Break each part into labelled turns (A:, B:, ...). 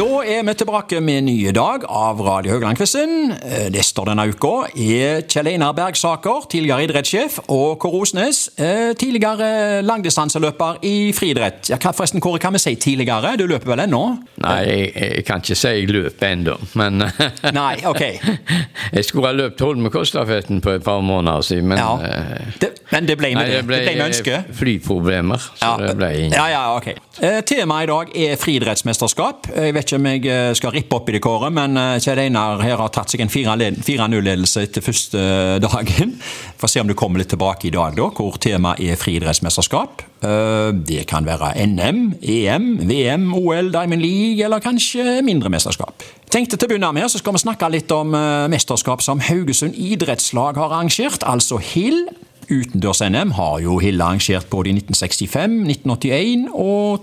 A: Da er vi tilbake med en ny dag av Radio Haugland-quizen. Neste denne uka er Kjell Einar Bergsaker, tidligere idrettssjef, og Kåre Osnes, eh, tidligere langdistanseløper i friidrett. Ja, hva- forresten, Kåre, kan vi si tidligere? Du løper vel ennå?
B: Nei, jeg, jeg kan ikke si jeg løper ennå, men
A: Nei, ok.
B: Jeg skulle ha løpt Holmenkollstafetten på et par måneder siden, men
A: Ja.
B: eh,
A: Det, men det ble med
B: nei,
A: det. Det ble, med ønske.
B: eh, flyproblemer, så det ble ingen.
A: ja, ja, ok. Eh, Temaet i dag er friidrettsmesterskap. Jeg vet ikke om jeg eh, skal rippe opp i det kåret, men eh, Kjell Einar her har tatt seg en 4-0-ledelse etter første eh, dagen. Får se om du kommer litt tilbake i dag, da, hvor temaet er friidrettsmesterskap. Eh, Det kan være E NM, EM, VM, OL, Diamond League eller kanskje mindre mesterskap. Tenkte til å begynne med, så skal vi snakke litt om eh, mesterskap som Haugesund idrettslag har arrangert, altså HIL. Utendørs-NM har jo Hille arrangert både i 1965, 1981 og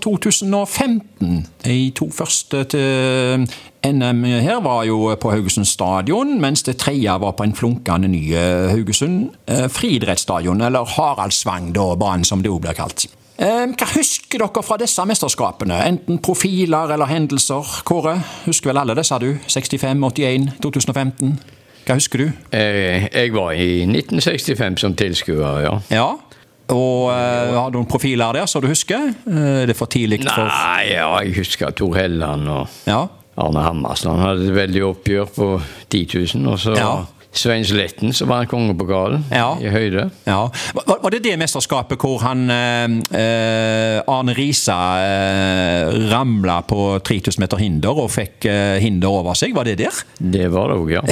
A: 2015. De to første til NM her var jo på Haugesund stadion, mens det tredje var på en flunkende ny eh, Haugesund eh, friidrettsstadion, eller Haraldsvang, da, banen som det òg blir kalt. Eh, Hva husker dere fra disse mesterskapene? Enten profiler eller hendelser? Kåre, husker vel alle disse, du? 65, 81, 2015? Hva husker du?
B: Jeg, jeg var i 1965 som tilskuer, ja.
A: Ja. Og eh, har du noen profiler der som du husker? Eh, er det for tidlig for
B: Nei, ja, jeg husker Tor Helland og
A: Ja.
B: Arne Hammersland hadde et veldig oppgjør på 10 000, og så
A: Ja.
B: Svein Sletten, som var kongepokalen
A: Ja.
B: i høyde.
A: ja. Var, var det det mesterskapet hvor han eh, eh, Arne Risa eh, ramla på 3000 meter hinder og fikk eh, hinder over seg? Var det der?
B: Det var det òg, ja.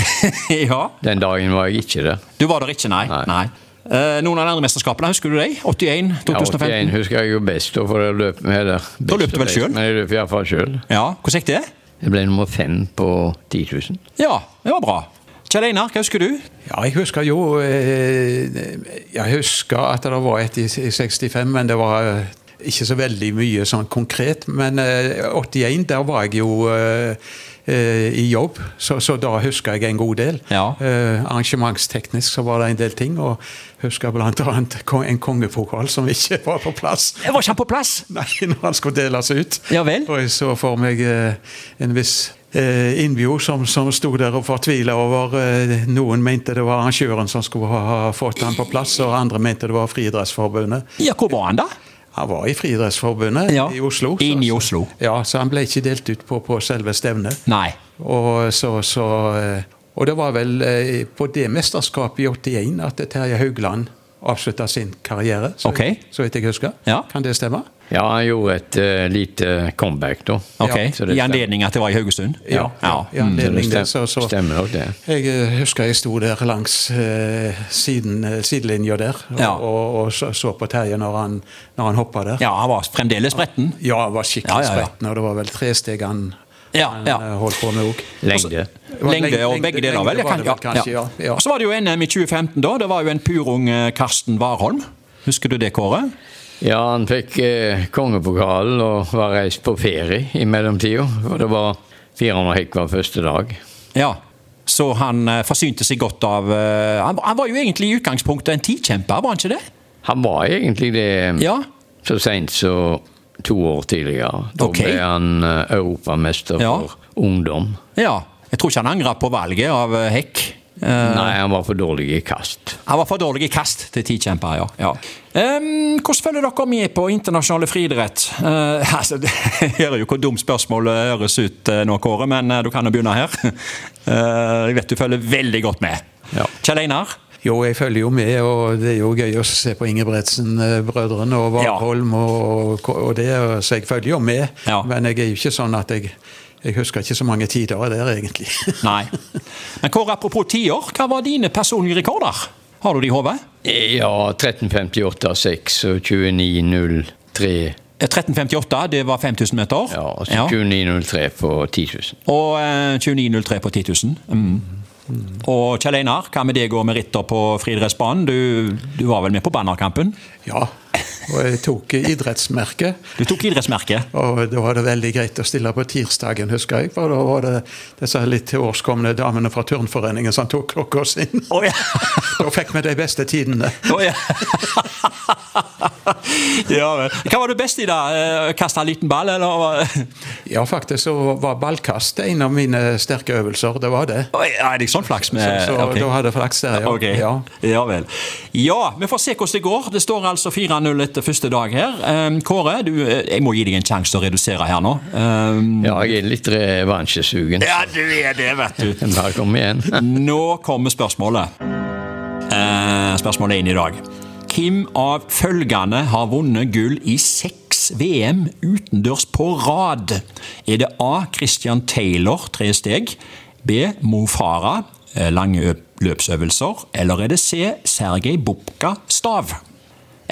A: ja.
B: Den dagen var jeg ikke der.
A: Du var der ikke, nei?
B: Nei.
A: Eh, noen av de andre mesterskapene, husker du dem? 81,
B: Ja, 81
A: 2015?
B: husker jeg jo best, da, for jeg løp med det.
A: Da løp du vel selv?
B: Men jeg løp iallfall sjøl.
A: Ja, hvordan gikk det?
B: Jeg ble nummer fem på 10 000.
A: Ja, det var bra. Kjell Einar, hva husker du?
C: Ja, jeg husker jo eh, Jeg husker at det var et i i 65, men det var eh, ikke så veldig mye sånn konkret. Men eh, 81, der var jeg jo eh, eh, i jobb, så, så da husker jeg en god del.
A: Ja.
C: Eh, arrangementsteknisk så var det en del ting, og husker bl.a. en kongepokal som ikke var på plass.
A: Jeg var ikke han på plass?
C: Nei, når han skulle deles ut.
A: Ja vel.
C: Og jeg så for meg eh, en viss eh, innbjo som, som sto der og fortvila over eh, Noen mente det var arrangøren som skulle ha, ha fått han på plass, og andre mente det var Friidrettsforbundet.
A: Ja, hvor var han da?
C: Han var i Friidrettsforbundet
A: Ja,
C: i Oslo. så-
A: inn i Oslo.
C: Ja, så han ble ikke delt ut på, på selve stevnet.
A: Nei.
C: Og, så, så, eh, og det var vel eh, på det mesterskapet i 81 at Terje Haugland avslutta sin karriere, så,
A: Ok.
C: så vidt jeg husker.
A: Ja.
C: Kan det stemme?
B: Ja, han gjorde et eh, lite comeback, da. Ja, så
A: Ok,
B: det
A: I
B: stemmer. Mm.
A: anledning at det var i Haugesund? ja.
C: Ja,
A: Mm.
C: ja, i anledning
B: Så det
C: det, så, så
B: stemmer nok det.
C: Jeg eh, husker jeg sto der langs eh, siden, eh, sidelinja der og,
A: Ja.
C: og, og så, så på Terje når han, når han hoppa der.
A: Ja, han var fremdeles spretten.
C: Ja, han var skikkelig
A: Ja, ja, ja.
C: spretten, og det var vel tre steg han,
A: Ja,
C: han
A: ja.
C: eh, holdt på med òg.
A: Altså-
B: Lengde.
C: Det var
A: Lengde og
C: lengde-
A: begge deler,
C: lengde
A: vel? Jeg
C: var
A: kan-
C: det vel kanskje, ja, ja.
A: Og Så var det jo eh, NM i 2015, da. Det var jo en purung eh, Karsten Warholm. Husker du det, Kåre?
B: Ja, han fikk eh, kongepokalen og var reist på ferie i mellomtida. Og det var 400 hekk hver første dag.
A: Ja. Så han eh, forsynte seg godt av eh, han, han var jo egentlig i utgangspunktet en tikjemper, var han ikke det?
B: Han var egentlig
C: Mm.
B: det eh,
A: Ja.
B: så seint som to år tidligere. Da
A: Ok.
B: ble han eh, europamester
A: Ja.
B: for ungdom.
A: Ja. Jeg tror ikke han angret på valget av eh, hekk. Eh,
B: Nei, han var for dårlig i kast.
A: Han var for dårlig i kast til tikjemper, ja. ja. Ehm, hvordan følger dere med på internasjonale friidrett? Eh, altså, det hører jo hvor dumt spørsmålet høres ut eh, nå, Kåre, men eh, du kan jo begynne her. Eh, jeg vet du følger veldig godt med.
B: Ja.
A: Kjell Einar?
C: Jo, jeg følger jo med, og det er jo gøy å se på Ingebretsen-brødrene og
A: Ja.
C: Warholm og, og det, så jeg følger jo med.
A: Ja.
C: Men jeg er jo ikke sånn at jeg, jeg husker ikke så mange tider der, egentlig.
A: Nei. Men Kåre, apropos tiår, hva var dine personlige rekorder? Har du de i hodet?
B: Ja, 1358-6 og 29.03.
A: Eh, 1358, det var 5000 meter.
B: Ja, altså og
A: Ja.
B: så 29.03 på 10 000.
A: Og eh, 29,03 på 10 000. Mm. Og Kjell Einar, hva med deg og med ritter på friidrettsbanen? Du, du var vel med på bannerkampen?
C: Ja, og jeg tok idrettsmerke.
A: Du tok idrettsmerket.
C: Og da var det veldig greit å stille på tirsdagen, husker jeg. For da var det disse litt årskomne damene fra turnforeningen som tok klokka sin.
A: Å ja.
C: Da fikk vi de beste tidene.
A: Å ja. ja vel. Hva var du best i, da? Eh, Kaste en liten ball, eller? hva?
C: Ja, faktisk så var ballkast en av mine sterke øvelser. Det var det.
A: Oi, Er det ikke sånn flaks med
C: Så, så
A: ok.
C: da hadde jeg flaks der, ja.
A: Ok,
C: ja.
A: ja. vel. Ja, vi får se hvordan det går. Det står altså 4-0 etter første dag her. Ehm, Kåre, du, eh, jeg må gi deg en sjanse til å redusere her nå. Ehm,
B: Ja, jeg er litt revansjesugen.
A: ja, du er det, vet du.
B: Bare kom igjen.
A: Nå kommer spørsmålet. Eh, spørsmålet er inn i dag. Hvem av følgende har vunnet gull i seks VM utendørs på rad? Er det A. Christian Taylor, tre steg. B. Mo Farah, eh, lange ø- løpsøvelser. Eller er det C. Sergej Bubka, stav?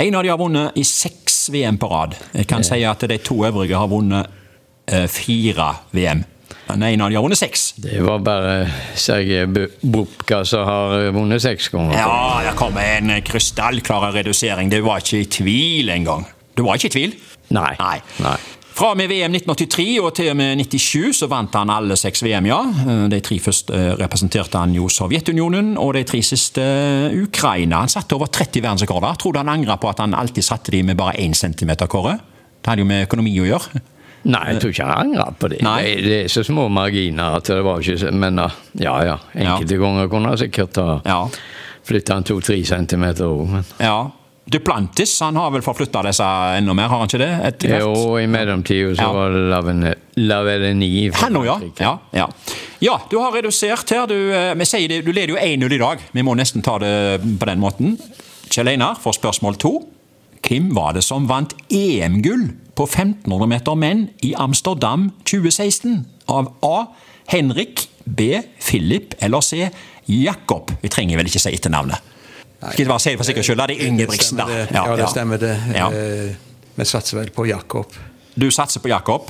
A: En av de har vunnet i seks VM på rad. Jeg kan si at de to øvrige har vunnet eh, fire VM. Men en av de har vunnet seks.
B: Det var bare Sergej Bu- Bubka som har vunnet seks ganger.
A: Ja, det kom en krystallklar redusering. Det var ikke i tvil engang. Du var ikke i tvil?
B: Nei.
A: Nei.
B: Nei.
A: Fra og med VM 1983 og til og med 1997 så vant han alle seks VM, ja. De tre første eh, representerte han jo Sovjetunionen, og de tre siste eh, Ukraina. Han satte over 30 verdensrekorder. Tror du han angrer på at han alltid satte de med bare én centimeter, Kåre? Det hadde jo med økonomi å gjøre.
B: Nei, jeg tror ikke han angrer på det.
A: Nei.
B: Det- Det er så små marginer at det var ikke så Men ah, ja, ja. Enkelte ganger kunne han sikkert ha
A: Ja.
B: flytta han to-tre centimeter òg, men
A: Ja. Duplantis han har vel forflytta disse enda mer, har han ikke det? Etter hvert?
B: Jo, i mellomtida så
A: Ja.
B: var det Lavene- Laveleni fra
A: Han òg, ja.
B: Frankrike.
A: ja, ja. Ja, du har redusert her. Du, eh, vi sier det, du leder jo 1-0 i dag. Vi må nesten ta det på den måten. Kjell Einar får spørsmål to. Hvem var det som vant EM-gull på 1500 meter menn i Amsterdam 2016? Av A. Henrik, B. Philip eller C. Jakob. Vi trenger vel ikke si etternavnet. Skal ikke bare si det for sikkerhets skyld. da. Det er Ingebrigtsen, da.
C: stemmer det. Ja, det stemmer det.
A: Ja.
C: Eh, Vi satser vel på Jakob.
A: Du satser på Jakob.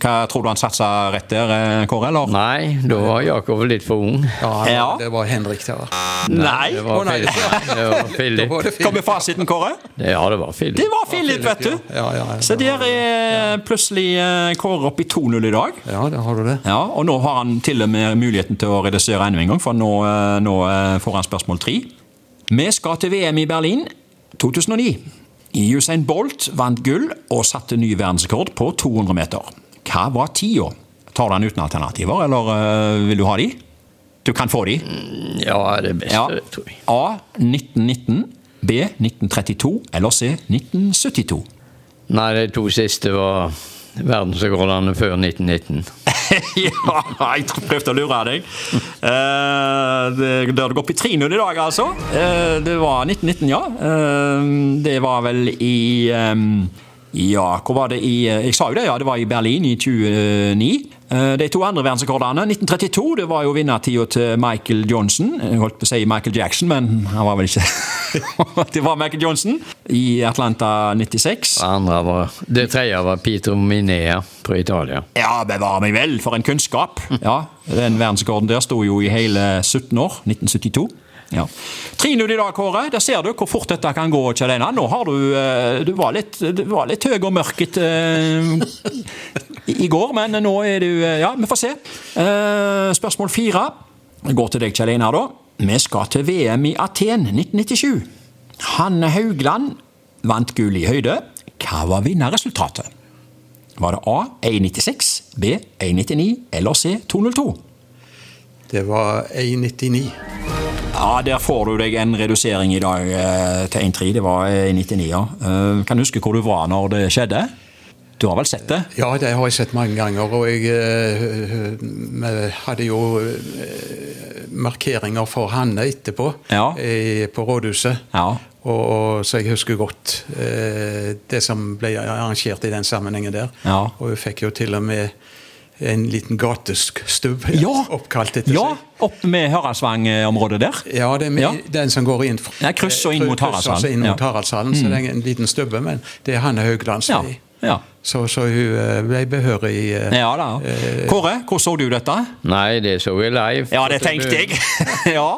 A: Hva tror du han satser rett der, eh, Kåre? eller?
B: Nei, da var Jakob litt for ung.
C: Ja,
A: Ja.
C: Det var Henrik der.
A: Nei.
B: Det var
C: Å, nei.
B: Philip. Det var
C: Da
B: Philip.
C: var det
A: Kommer
C: Philip.
A: fasiten, Kåre?
B: Ja, det var Philip.
A: Det var Philip, vet du.
C: Ja, ja, ja.
A: Så der er plutselig eh, Kåre oppe i 2-0 i dag.
C: Ja, da har du det.
A: Ja, Og nå har han til og med muligheten til å redusere enda en gang, for nå, eh, nå eh, får han spørsmål tre. Vi skal til VM i Berlin 2009. Usain Bolt vant gull og satte ny verdensrekord på 200 meter. Hva var tida? Tar du den uten alternativer, eller eh, vil du ha de? Du kan få de.
B: Ja, det beste,
A: Ja.
B: tror jeg.
A: A. 1919. B. 1932. Eller C. 1972.
B: Nei, de to siste var verdensrekordene før 1919.
A: ja, jeg prøvde å lure deg. Eh, det, det har gått i 3-0 i dag, altså. Eh, det var 1919, ja. Eh, det var vel i ehm, Ja, hvor var det i eh, Jeg sa jo det, ja. Det var i Berlin i 29. Eh, De to andre verdensrekordene. 1932 det var jo vinnertida til Michael Johnson. Jeg holdt på å si Michael Jackson, men han var vel ikke Det var Michael Johnson i Atlanta 96.
B: Det Andre var, det tredje var Pietro Minea fra Italia.
A: Ja, bevare meg vel, for en kunnskap! Ja, Den verdensrekorden der sto jo i hele 17 år. 1972. Ja. 3-0 i dag, Kåre. Der ser du hvor fort dette kan gå. Kjell Einar. Nå har du eh, Du var litt, du var litt høy og mørk et, eh, i går, men nå er du eh, Ja, vi får se. Eh, Spørsmål fire går til deg, Kjell Einar, da. Vi skal til VM i Aten 1997. Hanne Haugland vant gull i høyde. Hva var vinnerresultatet? Var det A 196, B 199 eller C 202?
C: Det var 1,99.
A: Ja, Der får du deg en redusering i dag eh, til 1,3. Det var 1,99. ja. Eh, Kan du huske hvor du var når det skjedde? Du har vel sett det?
C: Ja, det har jeg sett mange ganger. Og jeg eh, vi hadde jo eh, markeringer for Hanne etterpå
A: Ja.
C: eh, på rådhuset.
A: Ja.
C: Og, og, så jeg husker godt eh, det som ble arrangert i den sammenhengen der.
A: Ja.
C: Og hun fikk jo til og med en liten gatestubb oppkalt etter
A: ja
C: seg.
A: opp med Haraldsvang-området der.
C: Ja, det er med,
A: Ja.
C: den som går inn fra-
A: Ja, kryss og inn mot
C: kryss og så inn
A: Haraldshallen, ja.
C: mot
A: Mm.
C: Haraldshallen. Så det er en liten stubbe, men det er Hanne Haugland
A: Ja,
C: som er i.
A: ja.
C: Så, så hun eh, ble behørig eh,
A: ja da. Kåre, hvor så du dette?
B: Nei, det så jeg live.
A: Ja, det tenkte jeg. ja,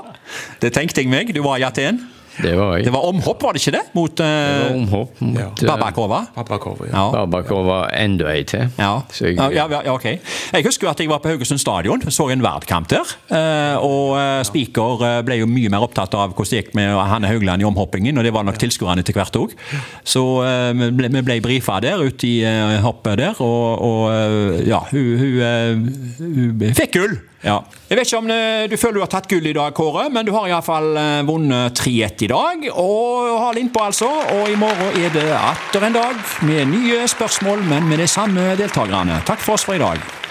A: det tenkte jeg meg. Du var i Aten.
B: Det var jeg.
A: Det var omhopp, var det ikke det? Mot
B: Det var
A: uh,
B: omhopp mot
C: Ja.
B: eh,
A: Babakova?
C: Pappakover, ja.
A: Ja.
B: Babakova enda ei til.
A: Ja.
B: Så jeg,
A: ja, ja, ja, ok. Jeg husker jo at jeg var på Haugesund stadion, så en verdkamp der. eh, Og eh, Spiker eh, ble jo mye mer opptatt av hvordan det gikk med Hanne Haugland i omhoppingen, og det var nok tilskuerne etter hvert òg. Så eh, vi ble, vi ble brifa der, ute i eh, hoppet der, og, og eh, ja, hun, hun, eh, hun fikk gull! Ja. Jeg vet ikke om eh, du føler du har tatt gull i dag, Kåre, men du har iallfall vunnet 3-1 i dag. Og har innpå, altså. Og i morgen er det atter en dag med nye spørsmål, men med de samme deltakerne. Takk for oss for i dag.